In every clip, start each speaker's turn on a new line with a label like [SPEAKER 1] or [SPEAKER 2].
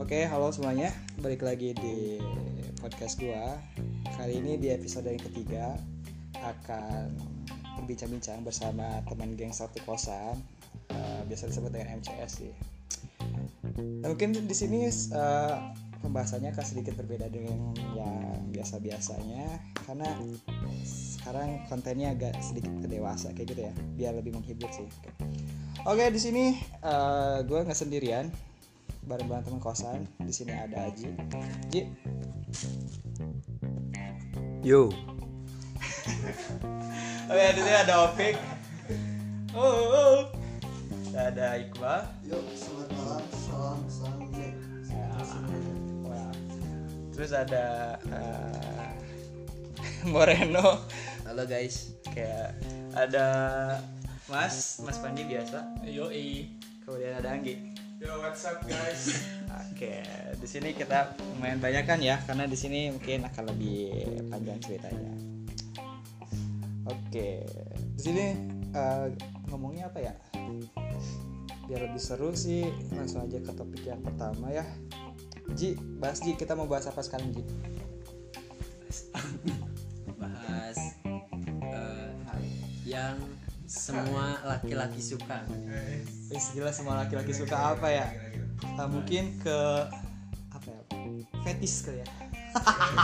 [SPEAKER 1] Oke, halo semuanya. Balik lagi di podcast gua. Kali ini di episode yang ketiga akan berbincang-bincang bersama teman geng satu kosan, eh, biasa disebut dengan MCS sih. Nah, mungkin di sini eh, pembahasannya akan sedikit berbeda dengan yang biasa-biasanya karena sekarang kontennya agak sedikit kedewasa kayak gitu ya, biar lebih menghibur sih. Oke, di sini eh, gua nggak sendirian, bareng-bareng teman kosan. Di sini ada Aji. Ji,
[SPEAKER 2] Yo,
[SPEAKER 3] Oh ya, di sini ada Opik. Oh, oh, oh. ada Iqbal.
[SPEAKER 4] Yuk, selamat malam, salam, salam, Jack.
[SPEAKER 1] wah,
[SPEAKER 3] Terus ada eh, Moreno.
[SPEAKER 2] halo guys.
[SPEAKER 3] Kayak ada Mas, Mas Pandi biasa.
[SPEAKER 5] Yoi.
[SPEAKER 3] Kemudian ada Anggi.
[SPEAKER 5] Yo, what's up guys?
[SPEAKER 1] Oke, di sini kita main banyak kan ya, karena di sini mungkin akan lebih panjang ceritanya. Oke, di sini eh, ngomongnya apa ya? Biar lebih seru sih, langsung aja ke topik yang pertama ya. Ji, bahas Ji, kita mau bahas apa sekarang Ji?
[SPEAKER 2] Bahas eh, yang semua laki-laki suka.
[SPEAKER 1] Wis jelas semua laki-laki suka apa ya? Ah, mungkin ke apa ya? Fetis kali ya.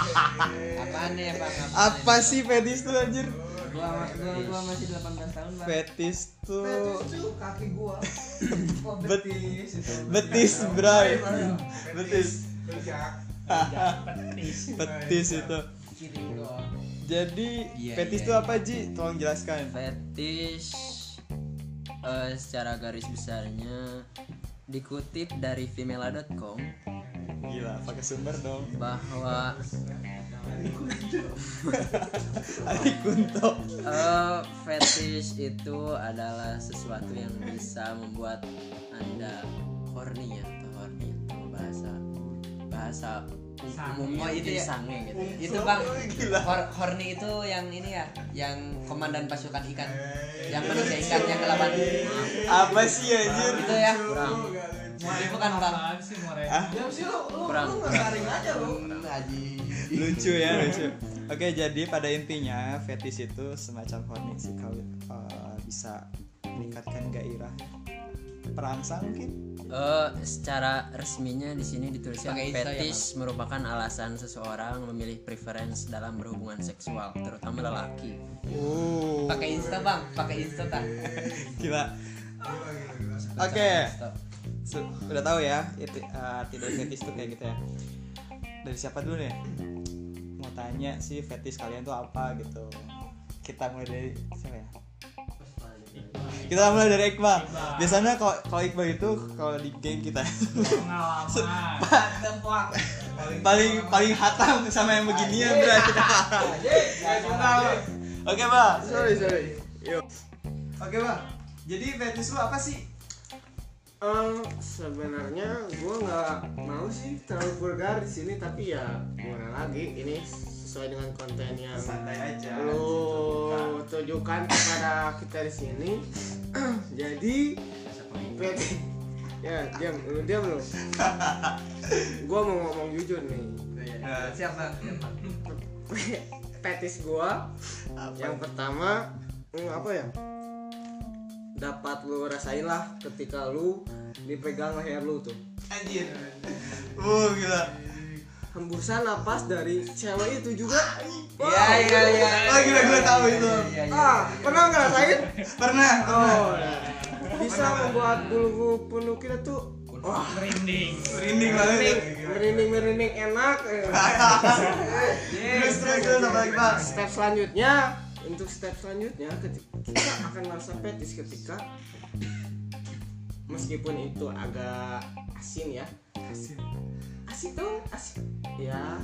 [SPEAKER 2] Apaan ya bang? Apaan
[SPEAKER 1] Apa sih fetis tuh anjir?
[SPEAKER 2] ya? Gua, gua, gua masih 18 tahun bang.
[SPEAKER 1] Fetis tuh
[SPEAKER 4] Itu Eh, kaki gua. Oh,
[SPEAKER 1] betis. Betis, bray. Betis. Betis itu.
[SPEAKER 2] Kiri gua.
[SPEAKER 1] Jadi
[SPEAKER 2] Iya,
[SPEAKER 1] fetis
[SPEAKER 2] iya,
[SPEAKER 1] itu
[SPEAKER 2] iya.
[SPEAKER 1] apa, Ji? Tolong jelaskan.
[SPEAKER 2] Fetish eh, secara garis besarnya dikutip dari femela.com
[SPEAKER 1] Gila, pakai sumber dong.
[SPEAKER 2] bahwa
[SPEAKER 1] Adik Kunto.
[SPEAKER 2] eh, fetish itu adalah sesuatu yang bisa membuat anda horny ya atau horny atau bahasa bahasa umum
[SPEAKER 6] Oh, itu
[SPEAKER 2] mungkin
[SPEAKER 6] ya?
[SPEAKER 2] sange gitu ya.
[SPEAKER 6] itu bang hor- horny itu yang ini ya yang komandan pasukan ikan yang ya, menunda ikan yang kelaban
[SPEAKER 1] Apa sih anjir?
[SPEAKER 6] itu ya
[SPEAKER 2] kurang
[SPEAKER 6] itu bukan bang
[SPEAKER 4] Diam sih lu, lu,
[SPEAKER 2] Kurang.
[SPEAKER 4] lu ngaring aja lu.
[SPEAKER 1] lucu ya lucu oke jadi pada intinya fetish itu semacam horny sih kalau uh, bisa meningkatkan gairah perangsang mungkin
[SPEAKER 2] Eh, secara resminya di sini dituliskan
[SPEAKER 6] Pakai Insta ya,
[SPEAKER 2] fetish merupakan alasan seseorang memilih preference dalam berhubungan seksual terutama lelaki
[SPEAKER 1] uh
[SPEAKER 6] pakai insta bang pakai insta tak
[SPEAKER 1] gila oke Se- udah tahu ya itu uh, arti dari fetish tuh kayak gitu ya dari siapa dulu nih mau tanya sih fetish kalian tuh apa gitu kita mulai dari siapa ya kita mulai dari Iqbal biasanya kalau kalau Iqbal itu kalau di game kita paling paling hatam sama yang beginian bro oke bang
[SPEAKER 4] Sorry, sorry.
[SPEAKER 1] oke bang jadi fetish lu apa sih
[SPEAKER 4] Eh, sebenarnya gua nggak mau sih terlalu vulgar di sini tapi ya gimana lagi ini sesuai dengan konten yang
[SPEAKER 1] santai aja
[SPEAKER 4] lu tunjukkan kepada kita di sini jadi Fet- ya diam lu diam lu gua mau ngomong jujur nih
[SPEAKER 1] Nah,
[SPEAKER 6] siap bang
[SPEAKER 4] petis gua yang pertama hmm, apa ya dapat lu rasain lah ketika lu dipegang leher lu tuh
[SPEAKER 1] anjir uh gila
[SPEAKER 4] hembusan napas dari cewek itu juga
[SPEAKER 6] iya iya iya
[SPEAKER 1] oh gila gue tahu itu
[SPEAKER 4] ah pernah ngerasain
[SPEAKER 1] pernah
[SPEAKER 4] oh nah. bisa membuat bulu penuh kita tuh wah
[SPEAKER 1] merinding
[SPEAKER 6] Iya,
[SPEAKER 1] banget
[SPEAKER 4] merinding merinding merinding enak eh.
[SPEAKER 1] terus terus terus sama Iqbal
[SPEAKER 4] step selanjutnya untuk step selanjutnya ketika kita akan merasa petis ketika meskipun itu agak asin ya asin asin dong asin ya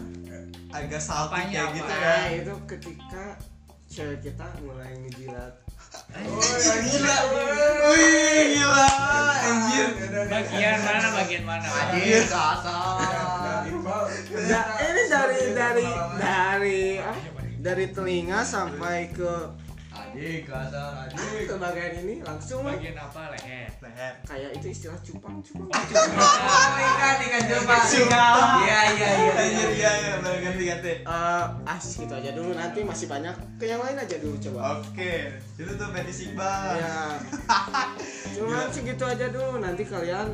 [SPEAKER 1] agak salty kayak gitu ya
[SPEAKER 4] nah, itu ketika cewek kita mulai ngejilat Eh. Oh, ya,
[SPEAKER 1] gila wih gila anjir
[SPEAKER 5] Bagian mana bagian mana?
[SPEAKER 6] hadir kakak
[SPEAKER 4] Da- ini dari dari dari ah, dari telinga sampai ke
[SPEAKER 1] Anjing, kasar anjing.
[SPEAKER 4] ke bagian ini langsung
[SPEAKER 5] Bagian apa leher?
[SPEAKER 1] Leher.
[SPEAKER 4] kayak itu istilah cupang Eh, cupang
[SPEAKER 6] Oh, ikan ikan coba. Iya iya iya.
[SPEAKER 1] Anjir, iya, iya, bener ganti-ganti.
[SPEAKER 4] Eh, as gitu aja dulu nanti masih banyak ke yang lain aja dulu
[SPEAKER 1] Oh.
[SPEAKER 4] coba
[SPEAKER 1] Oke, itu tuh fetish
[SPEAKER 6] Iya.
[SPEAKER 1] Iqbal.
[SPEAKER 4] ya cuman segitu aja dulu nanti kalian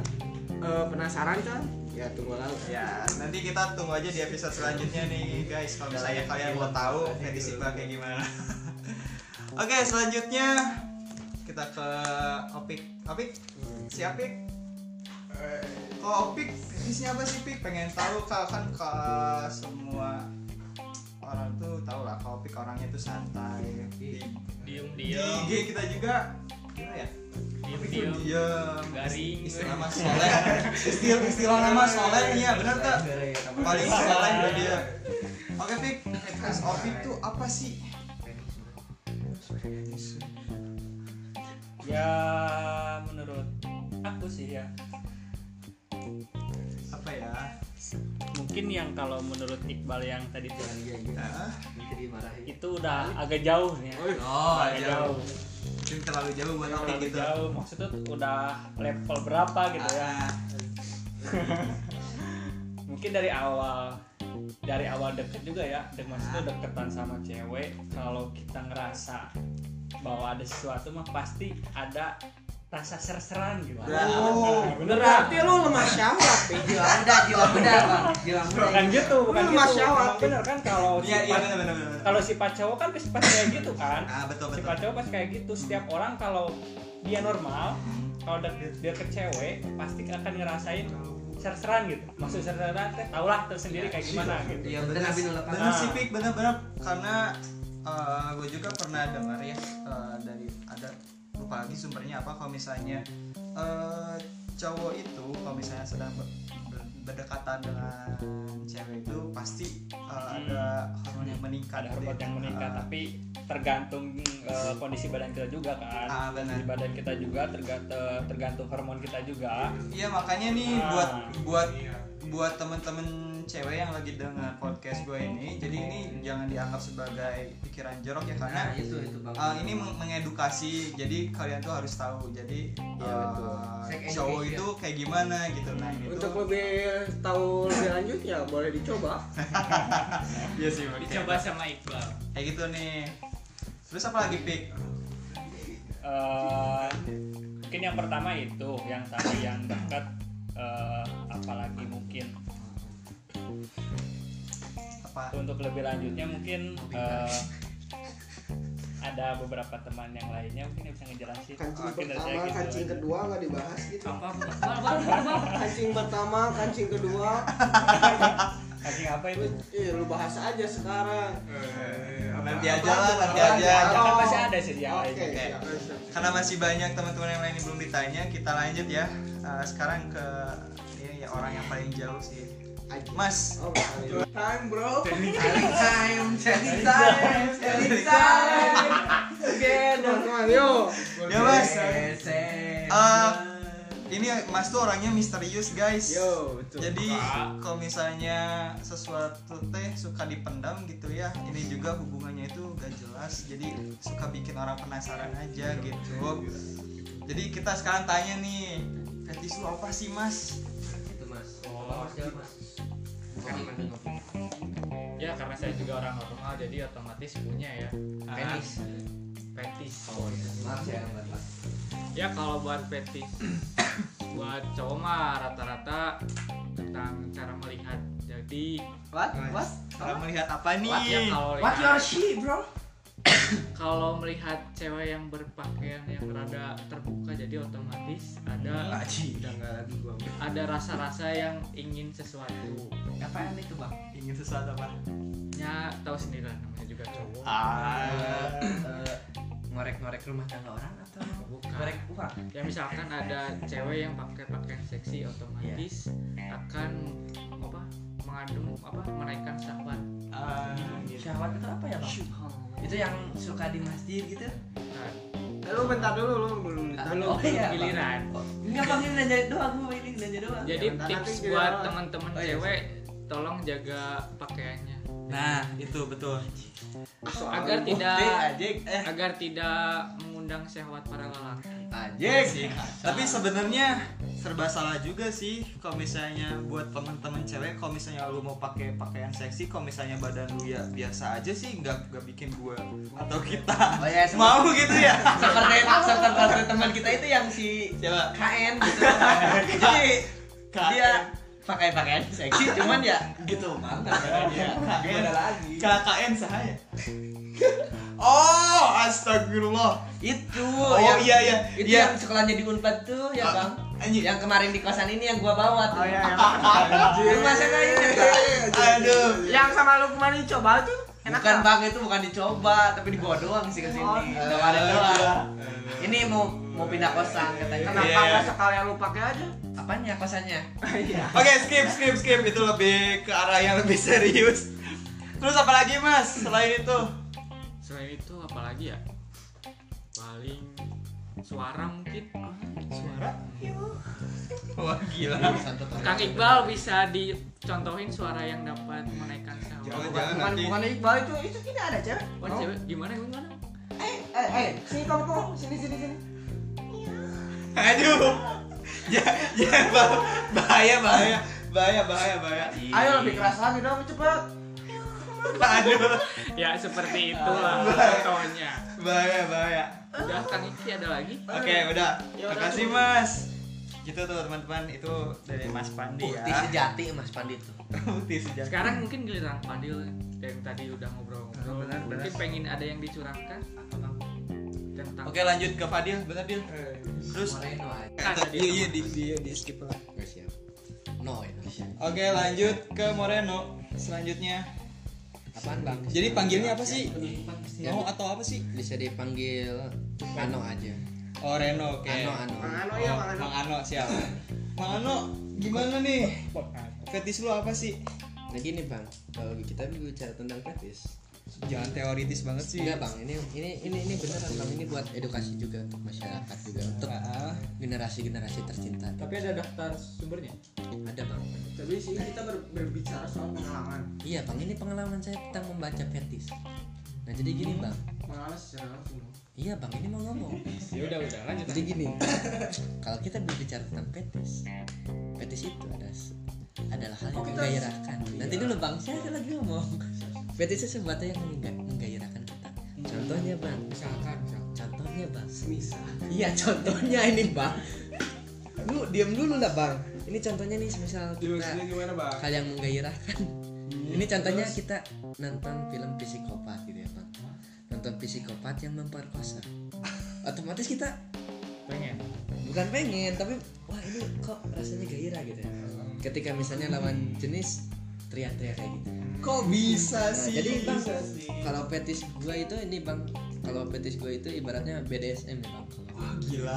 [SPEAKER 4] eh, penasaran kan ya tunggu lalu
[SPEAKER 1] Ya, nanti kita tunggu aja di episode selanjutnya nih guys kalau misalnya kalian mau tahu fetish Iqbal kayak gimana. Oke, selanjutnya kita ke Opik. Opik, si Opik. Kalau Opik, fetishnya apa sih Pik? Pengen tahu Kak, kan ke semua orang tuh tau lah kalau Opik orangnya tuh santai. Di,
[SPEAKER 5] Diem
[SPEAKER 1] di
[SPEAKER 5] diem,
[SPEAKER 1] IG kita juga gimana ya?
[SPEAKER 5] diem
[SPEAKER 1] Opik tuh
[SPEAKER 5] diem.
[SPEAKER 1] diem,
[SPEAKER 5] Garing.
[SPEAKER 1] istilah mas soleh istilah istilah nama soleh iya benar tak paling soleh udah dia oke Fik Fs Opik tuh apa sih
[SPEAKER 5] Ya menurut aku sih ya.
[SPEAKER 1] apa ya
[SPEAKER 5] Mungkin yang kalau menurut Iqbal yang tadi tuh
[SPEAKER 1] Nah,
[SPEAKER 5] itu udah agak jauh nih. ya.
[SPEAKER 1] oh
[SPEAKER 5] Agak
[SPEAKER 1] jauh mungkin terlalu jauh buat Opik
[SPEAKER 5] Terlalu
[SPEAKER 1] gitu
[SPEAKER 5] jauh. Maksudnya tuh udah level berapa gitu ya?
[SPEAKER 1] Ah,
[SPEAKER 5] mungkin dari awal dari awal deket juga ya dengan maksudnya deketan sama cewek kalau kita ngerasa bahwa ada sesuatu mah pasti ada rasa ser-seran gitu
[SPEAKER 1] Oh,
[SPEAKER 5] Nah, beneran
[SPEAKER 4] berarti lu lemah syahwat ya? Pi.
[SPEAKER 6] Jiwa muda, jiwa muda bang, jiwa muda.
[SPEAKER 5] bukan gitu bukan
[SPEAKER 4] Lu
[SPEAKER 5] gitu
[SPEAKER 4] masyarakat.
[SPEAKER 5] Emang bener kan kalau
[SPEAKER 1] iya iya
[SPEAKER 5] sifat-
[SPEAKER 1] benar benar benar
[SPEAKER 5] kalau sifat cowok kan sifat kayak gitu kan
[SPEAKER 1] ah betul Hmm. betul
[SPEAKER 5] sifat cowok pas kayak gitu setiap orang kalau dia normal
[SPEAKER 1] Hmm.
[SPEAKER 5] kalau deket dia ke cewek pasti akan ngerasain ser-seran gitu maksud ser-seran teh tau lah tersendiri kayak gimana gitu
[SPEAKER 6] Iya bener
[SPEAKER 1] benar
[SPEAKER 6] tapi nolak.
[SPEAKER 1] benar
[SPEAKER 5] Ah.
[SPEAKER 1] sih Pik benar benar karena gue juga pernah dengar ya eh, dari ada lupa lagi sumbernya apa kalau misalnya eh, cowok itu kalau misalnya sedang ber- ber- berdekatan dengan cewek itu pasti eh, ada hormon yang meningkat
[SPEAKER 5] Hmm. ada hormon
[SPEAKER 1] gitu.
[SPEAKER 5] yang meningkat
[SPEAKER 1] Ah,
[SPEAKER 5] tapi tergantung eh, kondisi badan kita juga kan
[SPEAKER 1] ah, benar
[SPEAKER 5] kondisi badan kita juga terga- eh, tergantung hormon kita juga
[SPEAKER 1] iya makanya nih
[SPEAKER 5] Ah.
[SPEAKER 1] buat buat buat temen-temen cewek yang lagi dengar podcast gue ini jadi ini
[SPEAKER 5] Hmm.
[SPEAKER 1] jangan dianggap sebagai pikiran jorok ya karena
[SPEAKER 6] Nah itu itu bang.
[SPEAKER 1] Uh, ini meng- mengedukasi jadi kalian tuh harus tahu jadi
[SPEAKER 4] Iya,
[SPEAKER 1] uh,
[SPEAKER 4] betul.
[SPEAKER 6] Sex
[SPEAKER 1] cowok
[SPEAKER 6] education.
[SPEAKER 1] itu kayak gimana gitu nah itu
[SPEAKER 4] untuk lebih tahu lebih lanjut ya boleh dicoba
[SPEAKER 1] Iya sih oke.
[SPEAKER 5] dicoba sama Iqbal
[SPEAKER 1] kayak gitu nih terus apa lagi pik
[SPEAKER 5] Eh, mungkin yang pertama itu yang tadi yang dekat eh, apalagi mungkin
[SPEAKER 1] apa
[SPEAKER 5] untuk lebih lanjutnya mungkin eh, ada beberapa teman yang lainnya mungkin yang bisa ngejelasin
[SPEAKER 4] kancing
[SPEAKER 5] mungkin dari saya
[SPEAKER 4] pertama
[SPEAKER 5] gitu
[SPEAKER 4] kancing
[SPEAKER 5] aja.
[SPEAKER 4] kedua nggak dibahas gitu
[SPEAKER 5] apa
[SPEAKER 4] kancing pertama kancing kedua
[SPEAKER 5] kancing apa itu
[SPEAKER 4] lu, eh, lu bahas aja sekarang
[SPEAKER 1] Eh, nanti aja lah nanti aja
[SPEAKER 5] kan masih ada sih yang
[SPEAKER 4] oke
[SPEAKER 5] lainnya.
[SPEAKER 4] siap, siap.
[SPEAKER 1] karena masih banyak teman-teman yang lain yang belum ditanya kita lanjut ya Uh, sekarang ke ya, ya, orang yang paling jauh sih
[SPEAKER 4] Aji.
[SPEAKER 1] mas
[SPEAKER 4] Oh, makanya. time bro
[SPEAKER 6] Selling time, selling time, selling time.
[SPEAKER 4] Teman-teman, yo
[SPEAKER 1] ya mas Eh,
[SPEAKER 6] Ah.
[SPEAKER 1] ini mas tuh orangnya misterius guys
[SPEAKER 4] yo betul
[SPEAKER 1] Jadi
[SPEAKER 5] Pak.
[SPEAKER 1] kalau misalnya sesuatu teh suka dipendam gitu ya, ini juga hubungannya itu gak jelas. Jadi suka bikin orang penasaran aja gitu. Jadi kita sekarang tanya nih, fetish lu apa sih mas?
[SPEAKER 6] Itu mas. Oh, siapa mas?
[SPEAKER 5] Ya karena saya juga orang normal jadi otomatis punya ya
[SPEAKER 6] Penis.
[SPEAKER 5] petis.
[SPEAKER 6] Maaf ya, Mbak. Mas.
[SPEAKER 5] Ya kalau buat petis buat cowok mah rata-rata tentang cara melihat. Jadi
[SPEAKER 6] What? What?
[SPEAKER 1] Cara melihat apa nih?
[SPEAKER 5] ya kalau
[SPEAKER 6] What your
[SPEAKER 5] lihat-
[SPEAKER 6] she, bro?
[SPEAKER 5] kalau melihat cewek yang berpakaian yang rada terbuka jadi otomatis ada
[SPEAKER 1] Aji.
[SPEAKER 6] Ah, Udah nggak lagi gua.
[SPEAKER 5] ada rasa-rasa yang ingin sesuatu.
[SPEAKER 6] Apa yang itu bang?
[SPEAKER 1] Ingin sesuatu apa?
[SPEAKER 5] Ya tahu sendiri lah namanya juga cowok.
[SPEAKER 1] Ah.
[SPEAKER 6] Eh, Ngorek-ngorek rumah tangga orang atau
[SPEAKER 5] Bukan.
[SPEAKER 6] ngorek uang?
[SPEAKER 5] ya misalkan ada cewek yang pakai pakaian seksi otomatis akan apa mengandung apa menaikkan syahwat
[SPEAKER 1] Ah, gitu.
[SPEAKER 6] Syahwat itu apa ya bang? Itu yang suka di masjid gitu?
[SPEAKER 5] Nah,
[SPEAKER 4] Eh, lu bentar dulu lu belum ditanya
[SPEAKER 6] Oh iya. Bang.
[SPEAKER 5] giliran
[SPEAKER 6] Enggak bang ini nanya doang, gua ini
[SPEAKER 1] Iya.
[SPEAKER 6] nanya doang.
[SPEAKER 5] jadi
[SPEAKER 4] bentar,
[SPEAKER 5] tips
[SPEAKER 4] nanti giliran.
[SPEAKER 5] buat teman-teman
[SPEAKER 6] Oh, iya,
[SPEAKER 5] cewek tolong jaga pakaiannya
[SPEAKER 1] Nah, itu betul.
[SPEAKER 6] Oh,
[SPEAKER 4] Oh,
[SPEAKER 6] iya.
[SPEAKER 5] agar tidak
[SPEAKER 1] Ajik, eh
[SPEAKER 5] agar tidak mengundang syahwat para lelaki.
[SPEAKER 1] Ajik. Tapi sebenarnya serba salah juga sih kalau misalnya buat temen-temen cewek kalau misalnya lu mau pakai pakaian seksi kalau misalnya badan lu ya biasa aja sih nggak nggak bikin gua atau kita
[SPEAKER 6] Oh ya, semua
[SPEAKER 1] mau gitu ya
[SPEAKER 6] seperti seperti teman kita itu yang si
[SPEAKER 1] coba
[SPEAKER 6] KN gitu. Jadi dia
[SPEAKER 1] Iya.
[SPEAKER 6] pakai pakaian seksi cuman ya
[SPEAKER 1] gitu mantap ya
[SPEAKER 6] gimana lagi?
[SPEAKER 1] KKN sahaya oh astagfirullah
[SPEAKER 6] Itu
[SPEAKER 1] oh
[SPEAKER 6] yang
[SPEAKER 1] iya iya
[SPEAKER 6] itu
[SPEAKER 1] iya
[SPEAKER 6] yang sekolahnya di Unpad tuh ya,
[SPEAKER 1] Ah, Oh, iya.
[SPEAKER 6] Bang.
[SPEAKER 1] anjing.
[SPEAKER 6] Yang kemarin di kosan ini yang gua bawa
[SPEAKER 4] Oh,
[SPEAKER 6] tuh.
[SPEAKER 4] iya,
[SPEAKER 6] Lu masa nggak ingat, Bang?
[SPEAKER 1] aduh
[SPEAKER 5] Yang sama lu kemarin coba tuh enak
[SPEAKER 6] Bukan Bang itu bukan dicoba, tapi dibawa doang
[SPEAKER 1] Oh,
[SPEAKER 6] sih ke sini.
[SPEAKER 1] gitu.
[SPEAKER 6] Kemarin doang. Ini mau mau pindah kosan katanya.
[SPEAKER 5] Kenapa
[SPEAKER 1] Iya.
[SPEAKER 5] nggak sekalian lu pakai aja?
[SPEAKER 6] Apanya ya kosannya?
[SPEAKER 1] oke skip skip skip itu lebih ke arah yang lebih serius terus apa lagi mas selain itu
[SPEAKER 5] Selain itu apalagi ya? Paling suara mungkin.
[SPEAKER 1] wah gila
[SPEAKER 5] Kang Iqbal bisa dicontohin suara yang dapat menaikkan syahwat.
[SPEAKER 7] Jangan, jangan nanti
[SPEAKER 6] Iqbal itu itu tidak ada cewek.
[SPEAKER 5] Wah, cewek gimana gimana?
[SPEAKER 6] Eh, eh, sini kamu kamu sini sini sini.
[SPEAKER 1] aduh ya ya bah- bahaya bahaya bahaya bahaya bahaya
[SPEAKER 5] Ayo lebih keras lagi dong, cepat.
[SPEAKER 1] aduh
[SPEAKER 5] Ya seperti itulah contohnya.
[SPEAKER 1] bahaya bahaya
[SPEAKER 5] Udah Kang Iki ada lagi?
[SPEAKER 1] Oke, udah.
[SPEAKER 6] Ya
[SPEAKER 1] Makasih, Mas. Gitu tuh, teman-teman. Itu dari Mas Pandi
[SPEAKER 6] Bukti
[SPEAKER 1] ya.
[SPEAKER 6] sejati Mas Pandit tuh.
[SPEAKER 1] Bukti sejati.
[SPEAKER 5] Sekarang mungkin giliran Fadil yang tadi udah ngobrol-ngobrol.
[SPEAKER 1] Benar, benar.
[SPEAKER 5] Mungkin pengen ada yang dicurahkan atau Bang? tentang
[SPEAKER 1] Oke, lanjut ke Fadil. Benar, Dil.
[SPEAKER 6] Eh,
[SPEAKER 1] Terus
[SPEAKER 6] Mulai doa.
[SPEAKER 5] kan tadi
[SPEAKER 8] Iya iya di, di, di skip lah.
[SPEAKER 6] No ya. itu.
[SPEAKER 1] Oke, lanjut ke Moreno selanjutnya.
[SPEAKER 6] Apaan Bang?
[SPEAKER 8] Jadi panggilnya apa sih? No atau apa sih?
[SPEAKER 6] Bisa dipanggil Ano aja.
[SPEAKER 1] Oh, Reno, oke.
[SPEAKER 6] Ano Ano.
[SPEAKER 9] Ano
[SPEAKER 1] Oh,
[SPEAKER 9] ya, Mang Ano.
[SPEAKER 1] Mang Ano, siap. Mang Ano, gimana nih? Fetis lu apa sih?
[SPEAKER 6] Nah gini Bang, kalau kita bicara tentang fetis,
[SPEAKER 1] Jangan teoritis banget sih.
[SPEAKER 6] Enggak bang, ini ini ini ini beneran bang, ini buat edukasi juga untuk masyarakat juga untuk
[SPEAKER 1] Ah,
[SPEAKER 6] generasi generasi tercinta.
[SPEAKER 10] Tapi ada daftar sumbernya.
[SPEAKER 6] Ada bang.
[SPEAKER 9] Tapi sini kita ber- berbicara soal pengalaman.
[SPEAKER 6] Iya bang, ini pengalaman saya tentang membaca fetis. Nah jadi gini bang,
[SPEAKER 9] Pengalaman secara langsung.
[SPEAKER 6] iya bang ini mau ngomong.
[SPEAKER 10] Ya udah udah lanjut.
[SPEAKER 6] Jadi gini, kalau kita berbicara tentang fetis, fetis itu ada adalah hal yang menggairahkan. Nanti
[SPEAKER 10] Iya.
[SPEAKER 6] dulu bang, saya lagi ngomong. Fetis itu sesuatu yang mengga- menggairahkan kita. Contohnya bang,
[SPEAKER 5] misalkan misalkan.
[SPEAKER 6] contohnya bang.
[SPEAKER 9] Semisal.
[SPEAKER 6] Iya contohnya ini bang Lu diam dulu lah bang Ini contohnya nih misal
[SPEAKER 9] Dimaksudnya
[SPEAKER 6] kita
[SPEAKER 9] gimana bang?
[SPEAKER 6] Hal yang menggairahkan Ini contohnya kita nonton film psikopat gitu ya bang Nonton psikopat yang memperkosa Otomatis kita
[SPEAKER 10] Pengen.
[SPEAKER 6] bukan pengen tapi Wah ini kok rasanya gairah gitu ya Ketika misalnya lawan jenis teriak-teriak kayak gitu
[SPEAKER 1] kok Oh, bisa
[SPEAKER 6] Nah,
[SPEAKER 1] sih?
[SPEAKER 6] jadi bang
[SPEAKER 1] Bisa sih.
[SPEAKER 6] kalau petis gua itu ini bang kalau petis gua itu ibaratnya BDSM ya bang
[SPEAKER 1] Wah, gila.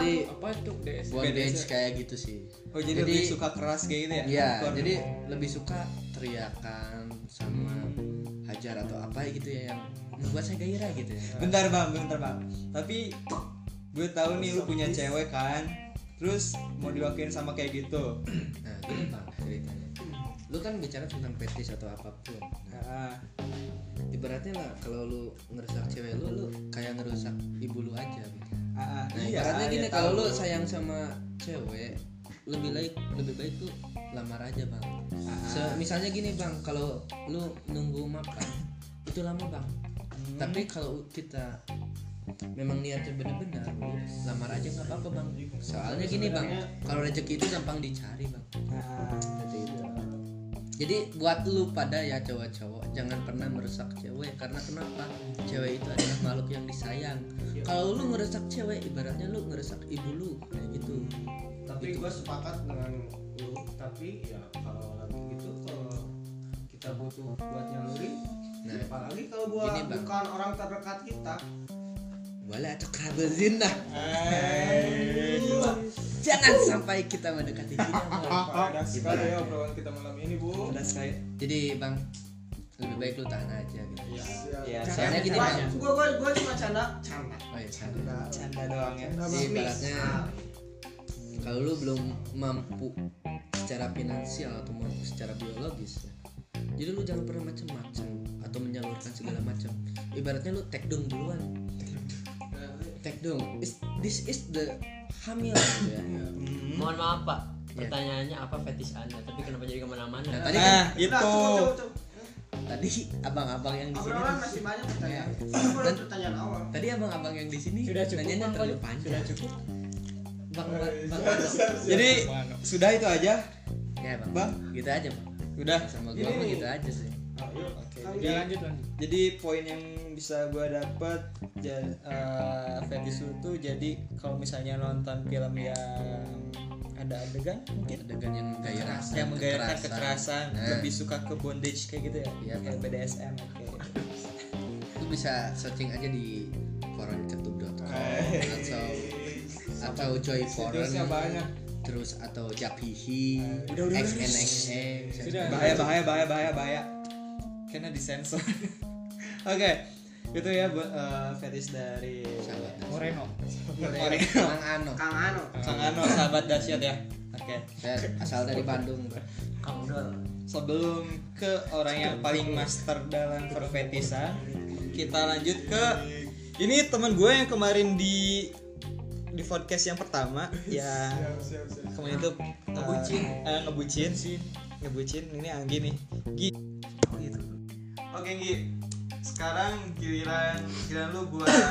[SPEAKER 6] jadi
[SPEAKER 5] Apa tuh DS?
[SPEAKER 6] bondage kayak gitu sih
[SPEAKER 1] Oh, jadi,
[SPEAKER 6] Jadi-
[SPEAKER 1] lebih suka keras kayak gitu ya?
[SPEAKER 6] Iya,
[SPEAKER 1] Hardcore.
[SPEAKER 6] jadi lebih suka teriakan sama hajar atau apa gitu ya yang membuat saya gairah gitu ya.
[SPEAKER 1] Bentar bang, bentar bang. Tapi gue tahu nih lu punya cewek kan. Terus mau diwakilin sama kayak gitu.
[SPEAKER 6] Nah, gini Bang, ceritanya. Lu kan bicara tentang fetis atau apapun. Nah,
[SPEAKER 1] Ah,
[SPEAKER 6] ibaratnya lah kalau lu ngerusak cewek lu, lu kayak ngerusak ibu lu aja gitu.
[SPEAKER 1] ah, ah.
[SPEAKER 6] Nah,
[SPEAKER 1] iya.
[SPEAKER 6] ibaratnya
[SPEAKER 1] iya,
[SPEAKER 6] gini
[SPEAKER 1] tahu.
[SPEAKER 6] kalau lu sayang sama cewek, lebih baik lebih baik tuh lamar aja, Bang.
[SPEAKER 1] Ah.
[SPEAKER 6] Se- misalnya gini, Bang, kalau lu nunggu makan itu lama, Bang.
[SPEAKER 1] Hmm.
[SPEAKER 6] Tapi kalau kita memang niatnya benar-benar, lu lamar aja nggak apa-apa, Bang. Soalnya gini, Bang, kalau rezeki itu gampang dicari, Bang. Seperti itu. Jadi buat lu pada ya cowok-cowok jangan pernah merusak cewek karena kenapa? Cewek itu adalah makhluk yang disayang. Kalau lu ngerusak cewek ibaratnya lu ngerusak ibu lu kayak gitu.
[SPEAKER 4] tapi gue sepakat dengan lu tapi ya kalau lagi gitu kalau kita butuh buat nyalurin
[SPEAKER 6] Nah,
[SPEAKER 4] apalagi kalau gua
[SPEAKER 6] Gini, Bang.
[SPEAKER 4] bukan orang terdekat kita
[SPEAKER 6] wala taqrabu zina.
[SPEAKER 7] Eh,
[SPEAKER 6] Jangan sampai kita mendekati zina. Bang.
[SPEAKER 7] padat sekali ya obrolan kita malam ini bu
[SPEAKER 1] Udah sekali.
[SPEAKER 6] Jadi Bang lebih baik lu tahan aja gitu.
[SPEAKER 1] Iya, saya
[SPEAKER 6] Soalnya gini Bang.
[SPEAKER 4] gua gua gua cuma canda canda Iya, Nah,
[SPEAKER 6] Oh iya, salah.
[SPEAKER 1] canda doang ya.
[SPEAKER 6] Jadi ibaratnya kalau lu belum mampu secara finansial atau mampu secara biologis ya, jadi lu jangan pernah macem-macem atau menyalurkan segala macam ibaratnya lu take down duluan take down Is- this is the hamil gitu ya.
[SPEAKER 2] Iya. Mohon maaf pak,
[SPEAKER 6] Iya.
[SPEAKER 2] pertanyaannya apa fetish anda? Tapi kenapa jadi kemana-mana?
[SPEAKER 6] nah tadi kan-
[SPEAKER 1] Nah,
[SPEAKER 7] Gitu.
[SPEAKER 1] itu.
[SPEAKER 6] tadi abang-abang yang di sini
[SPEAKER 11] Obrolan masih banyak pertanyaan.
[SPEAKER 6] Iya. Dan-
[SPEAKER 11] Belum pertanyaan awal.
[SPEAKER 6] tadi abang-abang yang di sini
[SPEAKER 5] Sudah cukup,
[SPEAKER 6] nanyanya
[SPEAKER 5] Bang,
[SPEAKER 6] terlalu
[SPEAKER 5] Bang.
[SPEAKER 6] panjang cukup bang bang bang, bang,
[SPEAKER 1] Jadi sudah itu aja,
[SPEAKER 6] ya bang,
[SPEAKER 1] Bang.
[SPEAKER 6] gitu aja bang
[SPEAKER 1] udah.
[SPEAKER 6] sama gua mah gitu aja sih
[SPEAKER 1] Oke,
[SPEAKER 11] Kan
[SPEAKER 1] jadi-
[SPEAKER 5] Ya lanjut lanjut.
[SPEAKER 1] jadi poin yang bisa gue dapat ja, eh, fetish lu tuh jadi kalau misalnya nonton film yang ada adegan mungkin
[SPEAKER 6] adegan yang gaya rasa
[SPEAKER 1] yang menggairahkan kekerasan, Eh.
[SPEAKER 6] Nah.
[SPEAKER 1] lebih suka ke bondage kayak gitu ya
[SPEAKER 6] Iya,
[SPEAKER 1] kayak BDSM oke
[SPEAKER 6] lu bisa searching aja di pornketub.com
[SPEAKER 1] Eh.
[SPEAKER 6] atau atau joy porn
[SPEAKER 5] Situsnya banyak.
[SPEAKER 6] terus atau japihi
[SPEAKER 1] Udah, udah, udah.
[SPEAKER 6] xnxm
[SPEAKER 5] Sudah.
[SPEAKER 1] bahaya bahaya bahaya bahaya bahaya karena disensor oke itu ya buat eh, fetish dari
[SPEAKER 6] sahabat
[SPEAKER 1] Oh,
[SPEAKER 5] Moreno.
[SPEAKER 6] Mang Ano
[SPEAKER 4] Kang Ano
[SPEAKER 1] Kang Ano sahabat dahsyat ya oke
[SPEAKER 6] Dan asal dari Bandung bro.
[SPEAKER 2] Kamu dong.
[SPEAKER 1] sebelum ke orang yang paling master dalam perfetisan kita lanjut ke ini teman gue yang kemarin di di podcast yang pertama yang kemarin itu uh,
[SPEAKER 2] Ngebucin.
[SPEAKER 1] eh, ngebucin sih ngebucin ini Anggi nih Gi
[SPEAKER 3] Oh, gitu. Oke Gi, sekarang giliran giliran lu buat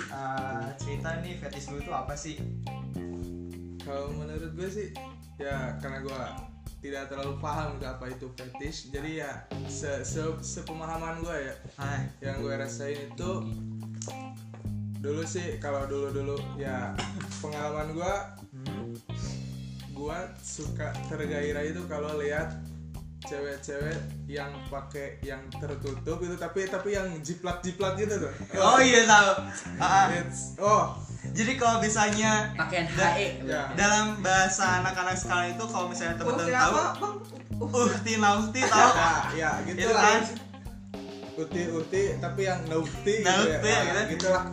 [SPEAKER 3] eh, cerita nih fetish lu itu apa sih?
[SPEAKER 12] kalau menurut gue sih ya karena gue tidak terlalu paham ke apa itu fetish jadi ya se se sepemahaman gue ya
[SPEAKER 1] Ah,
[SPEAKER 3] Hai.
[SPEAKER 12] yang gue rasain itu dulu sih kalau dulu dulu ya pengalaman gue gue suka tergairah itu kalau lihat cewek-cewek yang pakai yang tertutup itu tapi tapi yang jiplak jiplak gitu tuh
[SPEAKER 3] Oh iya tahu. Ah, ah.
[SPEAKER 12] It's- oh
[SPEAKER 3] Jadi kalau misalnya
[SPEAKER 2] Pakaian HE.
[SPEAKER 6] E.
[SPEAKER 12] ya
[SPEAKER 3] dalam bahasa anak-anak sekarang itu kalau misalnya
[SPEAKER 11] Bukti
[SPEAKER 3] teman-teman
[SPEAKER 4] Oh,
[SPEAKER 3] tahu,
[SPEAKER 11] apa, Bang?
[SPEAKER 3] uhti nauhti tahu.
[SPEAKER 12] ya, ya gitu
[SPEAKER 3] Itu
[SPEAKER 12] lah
[SPEAKER 3] kan.
[SPEAKER 12] urti urti tapi yang nauti
[SPEAKER 3] Nauti,
[SPEAKER 12] ya,
[SPEAKER 3] gitu.
[SPEAKER 12] Ah, gitu lah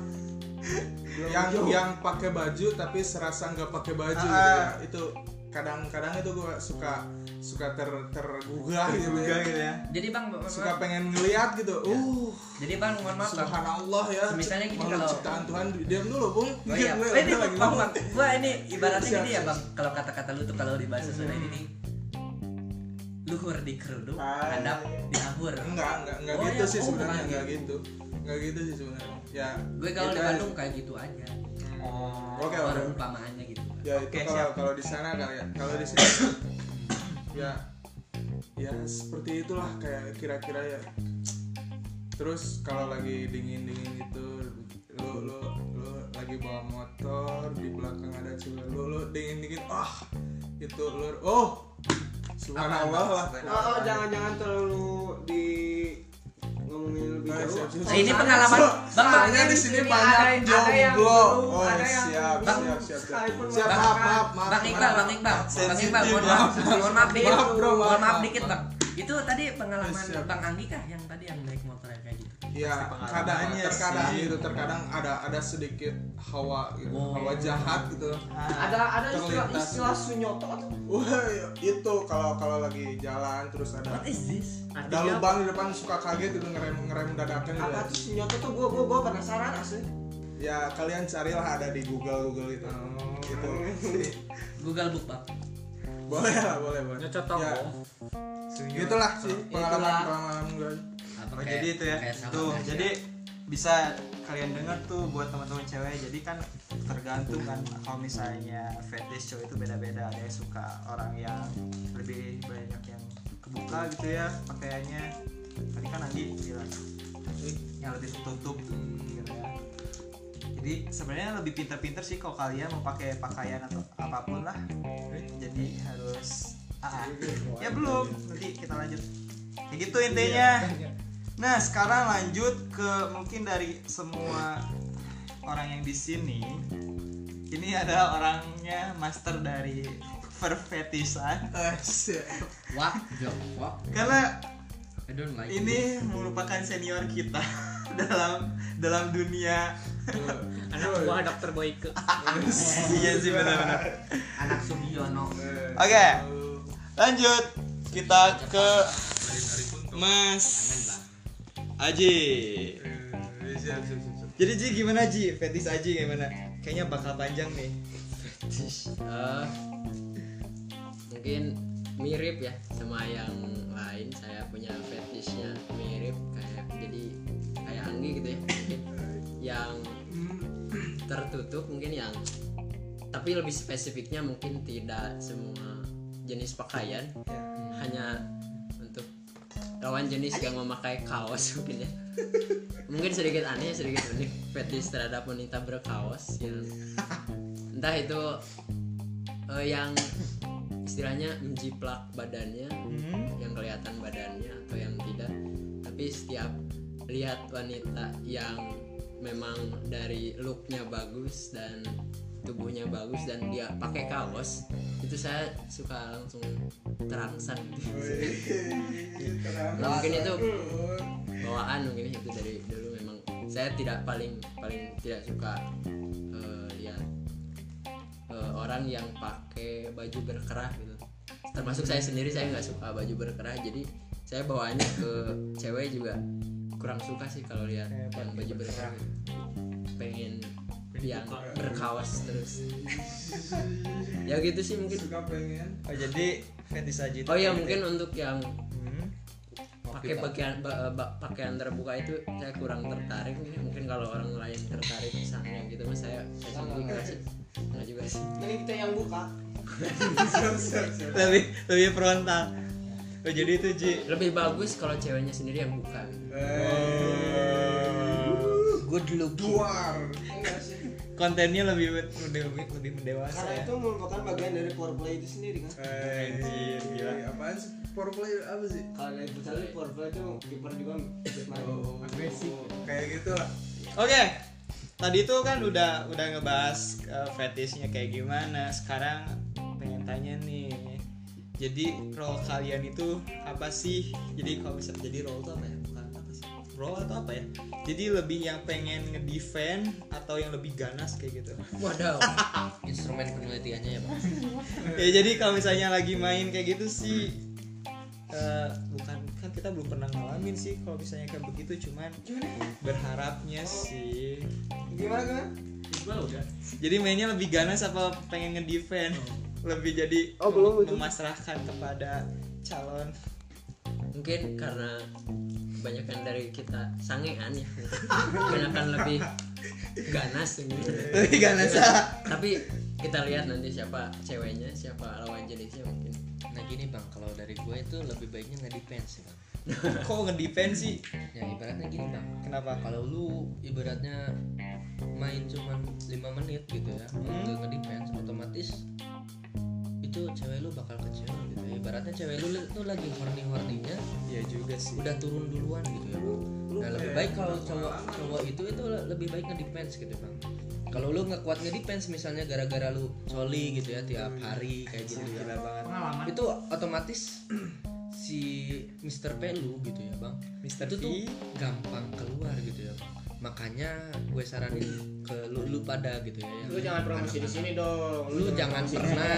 [SPEAKER 12] yang yang pakai baju tapi serasa nggak pakai baju
[SPEAKER 3] Ah,
[SPEAKER 12] gitu
[SPEAKER 3] ah.
[SPEAKER 12] ya. itu kadang-kadang itu gue suka suka ter tergugah gitu
[SPEAKER 3] Juga
[SPEAKER 12] ya.
[SPEAKER 3] gitu ya.
[SPEAKER 6] Jadi bang,
[SPEAKER 12] suka pengen ngeliat gitu uh
[SPEAKER 6] jadi bang mohon
[SPEAKER 12] subhanallah ya
[SPEAKER 6] Misalnya gini
[SPEAKER 12] makhluk
[SPEAKER 6] kalau-
[SPEAKER 12] ciptaan Tuhan diam dulu bung
[SPEAKER 6] Oh iya,
[SPEAKER 12] Gue-
[SPEAKER 2] Ini
[SPEAKER 12] gue
[SPEAKER 2] bang,
[SPEAKER 12] lagi
[SPEAKER 2] bang,
[SPEAKER 12] ngomong.
[SPEAKER 2] bang. Gua ini ibaratnya
[SPEAKER 12] Siap,
[SPEAKER 2] gini ya
[SPEAKER 12] siap.
[SPEAKER 2] bang. Kalau kata-kata lu tuh kalau di bahasa Sunda ini nih, luhur di kerudung,
[SPEAKER 12] Ah,
[SPEAKER 2] hadap di ahur.
[SPEAKER 12] enggak enggak enggak
[SPEAKER 2] Oh,
[SPEAKER 12] gitu
[SPEAKER 2] ya.
[SPEAKER 12] sih
[SPEAKER 2] Oh,
[SPEAKER 12] sebenarnya
[SPEAKER 2] bukan
[SPEAKER 12] enggak gitu enggak gitu sih sebenarnya ya
[SPEAKER 2] Gue kalau di
[SPEAKER 12] kita-
[SPEAKER 2] Bandung kayak gitu aja.
[SPEAKER 12] oke oke
[SPEAKER 2] Baru umpamaannya gitu.
[SPEAKER 12] ya
[SPEAKER 3] Oke, siap.
[SPEAKER 12] itu kalau kalau di sana kali ya kalau di sini ya ya seperti itulah kayak kira-kira ya terus kalau lagi dingin dingin gitu lu lu lu lagi bawa motor di belakang ada cewek lu lu dingin dingin ah itu lu oh subhanallah lah
[SPEAKER 11] Oh, oh, jangan-jangan terlalu di ngomongin lebih
[SPEAKER 12] Nah,
[SPEAKER 11] jauh.
[SPEAKER 12] siap, siap,
[SPEAKER 2] Nah, ini
[SPEAKER 12] siap.
[SPEAKER 2] pengalaman, bang,
[SPEAKER 12] Soalnya
[SPEAKER 2] makanya
[SPEAKER 12] di
[SPEAKER 2] di
[SPEAKER 12] sini
[SPEAKER 11] sini
[SPEAKER 12] banyak
[SPEAKER 11] ada- ada yang
[SPEAKER 12] jomblo.
[SPEAKER 11] belum,
[SPEAKER 12] Oh,
[SPEAKER 11] ada yang
[SPEAKER 12] siap,
[SPEAKER 11] belum.
[SPEAKER 12] siap, siap, siap.
[SPEAKER 11] Sekalipun
[SPEAKER 12] Siap,
[SPEAKER 11] makan.
[SPEAKER 12] maaf, maaf, maaf.
[SPEAKER 2] Bang Iqbal, Bang Iqbal, Bang Iqbal, mohon maaf, mohon maaf dikit,
[SPEAKER 12] Maaf, bro, maaf,
[SPEAKER 2] mohon maaf
[SPEAKER 12] maaf, Iya,
[SPEAKER 2] dikit bang. Itu tadi pengalaman
[SPEAKER 12] Siap.
[SPEAKER 2] Bang Anggi kah yang tadi yang naik motor yang kayak gitu?
[SPEAKER 12] ya kadang terkadang gitu terkadang ada ada sedikit hawa gitu, hawa jahat gitu
[SPEAKER 7] Nah,
[SPEAKER 11] Ada ada istilah
[SPEAKER 12] Terlintas.
[SPEAKER 11] istilah sunyoto tuh.
[SPEAKER 12] wah itu kalau kalau lagi jalan terus ada
[SPEAKER 2] What is this?
[SPEAKER 12] ada lubang di depan suka kaget gitu ngerem ngerem dadakan gitu
[SPEAKER 11] Apa tuh sunyoto tuh gua gua gua penasaran
[SPEAKER 3] assim.
[SPEAKER 11] asli.
[SPEAKER 12] ya kalian carilah ada di Google Google itu gitu
[SPEAKER 2] Google Book bang.
[SPEAKER 12] boleh lah boleh boleh
[SPEAKER 13] Nyocot
[SPEAKER 12] ya
[SPEAKER 13] tonggo.
[SPEAKER 12] gitulah sih pengalaman pengalaman gue
[SPEAKER 3] Oh, jadi itu ya. Tuh, jadi bisa kalian dengar tuh buat teman-teman cewek. Jadi kan tergantung kan kalau misalnya fetish cowok itu beda-beda. Ada yang suka orang yang lebih banyak yang kebuka gitu ya pakaiannya. Tadi kan Andi bilang "Ih, yang lebih tertutup gitu ya. Jadi sebenarnya lebih pinter-pinter sih kalau kalian mau pakai pakaian atau apapun lah. Jadi harus ah, ah. ya belum nanti kita lanjut. Ya gitu intinya. Nah, sekarang lanjut ke mungkin dari semua orang yang di sini. Ini ada orangnya master dari perfetisan
[SPEAKER 6] Wah, jok, wah,
[SPEAKER 3] karena
[SPEAKER 6] I don't like
[SPEAKER 3] ini merupakan senior kita dalam dalam dunia
[SPEAKER 13] Anak buah dokter Boyke.
[SPEAKER 3] iya sih benar-benar.
[SPEAKER 2] Anak Sugiono.
[SPEAKER 3] Oke. Lanjut kita ke
[SPEAKER 1] Mas Aji.
[SPEAKER 12] Eh, siap, siap, siap, siap.
[SPEAKER 1] Jadi Ji gimana Ji? Fetis Aji gimana? Kayaknya bakal panjang nih.
[SPEAKER 6] Eh, mungkin mirip ya sama yang lain saya punya fetishnya mirip kayak jadi kayak Anggi gitu ya mungkin yang tertutup mungkin yang tapi lebih spesifiknya mungkin tidak semua jenis pakaian hanya untuk lawan jenis yang memakai kaos mungkin ya mungkin sedikit aneh sedikit unik fetish terhadap wanita berkaos yang entah itu eh, yang istilahnya menjiplak badannya yang kelihatan badannya atau yang tidak tapi setiap lihat wanita yang memang dari looknya bagus dan tubuhnya bagus dan dia pakai kaos itu saya suka langsung terangsang nah, mungkin itu bawaan mungkin itu dari dulu memang saya tidak paling paling tidak suka eh, lihat eh, orang yang pakai baju berkerah gitu termasuk saya sendiri saya nggak suka baju berkerah jadi saya bawaannya ke cewek juga kurang suka sih kalau lihat yang baju berkerah gitu. pengen yang berkawas terus ya gitu sih mungkin
[SPEAKER 12] Suka pengen.
[SPEAKER 1] Oh, jadi Fetis Aji. itu
[SPEAKER 6] oh ya
[SPEAKER 1] mirip.
[SPEAKER 6] mungkin untuk yang
[SPEAKER 1] Hmm.
[SPEAKER 6] pakai bagian ba- ba- pakaian terbuka itu saya kurang tertarik nih mungkin kalau orang lain tertarik misalnya gitu mas saya saya sendiri nggak sih nggak juga sih
[SPEAKER 4] Jadi kita yang buka.
[SPEAKER 1] Lebih lebih frontal. Oh, jadi itu Ji.
[SPEAKER 6] lebih bagus kalau ceweknya sendiri yang buka
[SPEAKER 14] Good looking.
[SPEAKER 4] Enggak sih.
[SPEAKER 1] Kontennya lebih lebih, lebih mendewasa
[SPEAKER 4] Karena
[SPEAKER 1] ya.
[SPEAKER 4] itu merupakan bagian dari foreplay itu sendiri kan.
[SPEAKER 1] Anjir, gila.
[SPEAKER 12] Eh, apaan sih? Foreplay apa sih?
[SPEAKER 4] Kalau dari misalnya foreplay itu kiper juga ikut main.
[SPEAKER 12] Agresif. Kayak gitu lah.
[SPEAKER 1] Oke. Tadi itu kan udah udah ngebahas uh, fetishnya kayak gimana. Sekarang pengen tanya nih. Jadi role kalian itu apa sih? Jadi kalau bisa jadi role itu apa ya? Bukan apa sih? Role atau apa ya? Jadi lebih yang pengen ngedefend atau yang lebih ganas kayak gitu.
[SPEAKER 14] Waduh. Instrumen penelitiannya ya, Bang.
[SPEAKER 1] ya jadi kalau misalnya lagi main kayak gitu sih eh, bukan kan kita belum pernah ngalamin sih kalau misalnya kayak begitu cuman berharapnya sih
[SPEAKER 4] Gimana kan?
[SPEAKER 1] jadi mainnya lebih ganas apa pengen ngedefend lebih jadi
[SPEAKER 4] Oh, belum itu.
[SPEAKER 1] memasrahkan kepada calon
[SPEAKER 6] mungkin karena kebanyakan dari kita sangean ya mungkin akan lebih ganas gitu.
[SPEAKER 1] lebih ganas ah.
[SPEAKER 6] tapi kita lihat nanti siapa ceweknya siapa lawan jenisnya mungkin
[SPEAKER 14] Nah gini bang, kalau dari gue itu lebih baiknya nggak depend sih bang.
[SPEAKER 1] kok ngedefend sih
[SPEAKER 14] Ya ibaratnya gini bang,
[SPEAKER 1] kenapa
[SPEAKER 14] kalau lu ibaratnya main cuman 5 menit gitu ya,
[SPEAKER 1] Hmm?
[SPEAKER 14] nggak ngedepend, otomatis itu cewek lu bakal kecewa gitu. ya. Ibaratnya cewek lu itu lagi horny horninya,
[SPEAKER 1] ya juga sih
[SPEAKER 14] udah turun duluan gitu ya. Nah lebih baik kalau cowok cowok itu itu le- lebih baik ngedepends gitu bang. Kalau lu nggak kuat ngedepends misalnya gara-gara lu coli gitu ya tiap hari kayak gitu ya
[SPEAKER 1] Iya, gila banget
[SPEAKER 15] pengalaman
[SPEAKER 14] itu otomatis si Mr. Pelu gitu ya bang
[SPEAKER 1] Mr.
[SPEAKER 14] itu
[SPEAKER 1] V
[SPEAKER 14] tuh gampang keluar gitu ya bang makanya gue saranin ke lu, lu pada gitu ya yang-
[SPEAKER 16] Lu jangan promosi di sini dong.
[SPEAKER 14] lu jangan pernah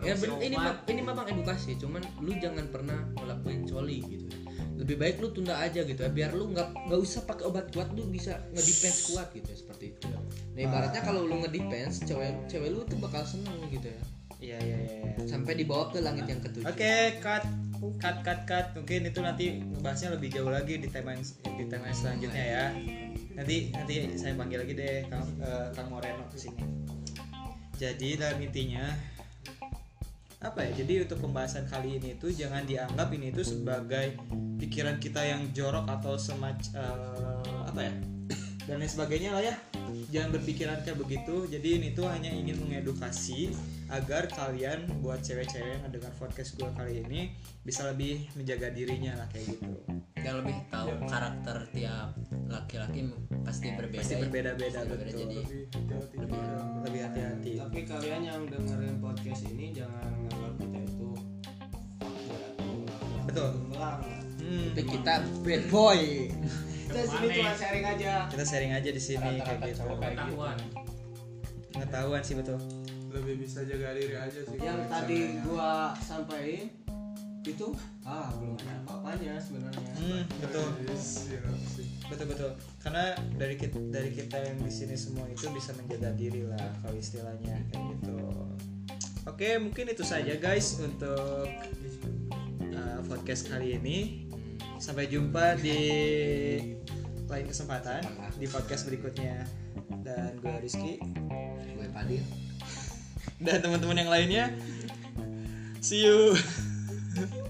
[SPEAKER 14] ya ben-
[SPEAKER 15] Promosi
[SPEAKER 14] ini
[SPEAKER 15] obat.
[SPEAKER 14] mah ini mah bang edukasi cuman lu jangan pernah ngelakuin coli gitu ya. lebih baik lu tunda aja gitu ya biar lu nggak nggak usah pakai obat kuat lu bisa ngedefense kuat gitu ya seperti itu nah
[SPEAKER 1] Ah.
[SPEAKER 14] ibaratnya kalau lu ngedefense cewek cewek lu tuh bakal seneng gitu ya
[SPEAKER 1] iya iya iya
[SPEAKER 14] sampai dibawa ke langit yang ketujuh
[SPEAKER 1] Oke, cut. Cut, cut, cut. Mungkin itu nanti ngebahasnya lebih jauh lagi di tema di tema selanjutnya ya. Nanti nanti saya panggil lagi deh Kang, eh, Kang Moreno ke sini. Jadi dalam intinya apa ya? Jadi untuk pembahasan kali ini itu jangan dianggap ini itu sebagai pikiran kita yang jorok atau semacam apa ya? Dan lain sebagainya lah ya. Jangan berpikiran kayak begitu. Jadi ini tuh hanya ingin mengedukasi agar kalian buat cewek-cewek yang dengar podcast gue kali ini bisa lebih menjaga dirinya lah kayak gitu
[SPEAKER 6] yang lebih tahu
[SPEAKER 1] Ya.
[SPEAKER 6] karakter tiap
[SPEAKER 14] Eh,
[SPEAKER 6] laki-laki pasti berbeda
[SPEAKER 1] pasti
[SPEAKER 6] ya.
[SPEAKER 1] berbeda-beda
[SPEAKER 6] Pasti berbeda,
[SPEAKER 1] betul
[SPEAKER 6] jadi
[SPEAKER 12] Lebih hati-hati dalam
[SPEAKER 1] lebih hati-hati
[SPEAKER 4] Tapi kalian yang dengerin podcast ini jangan nganggap kita itu fuckboy atau nggak-
[SPEAKER 1] Betul.
[SPEAKER 4] Enggak, enggak.
[SPEAKER 1] Hmm,
[SPEAKER 14] Tapi kita bad boy
[SPEAKER 4] Kita sini cuma sharing aja.
[SPEAKER 1] kita sharing aja di sini kayak gitu
[SPEAKER 15] pengetahuan
[SPEAKER 1] pengetahuan sih betul
[SPEAKER 12] lebih bisa jaga diri aja sih
[SPEAKER 4] Yang
[SPEAKER 12] kalau
[SPEAKER 4] tadi
[SPEAKER 12] misalnya.
[SPEAKER 4] gua sampaikan
[SPEAKER 11] itu ah belum ada apa-apanya sebenarnya
[SPEAKER 3] Hmm, betul.
[SPEAKER 12] Iya, Siap, siap.
[SPEAKER 1] betul betul karena dari kita dari kita yang di sini semua itu bisa menjaga diri lah kalau istilahnya kayak gitu oke mungkin itu saja guys untuk uh, podcast kali ini sampai jumpa di lain kesempatan di podcast berikutnya dan gue Rizky
[SPEAKER 6] gue Padil
[SPEAKER 1] dan teman-teman yang lainnya see you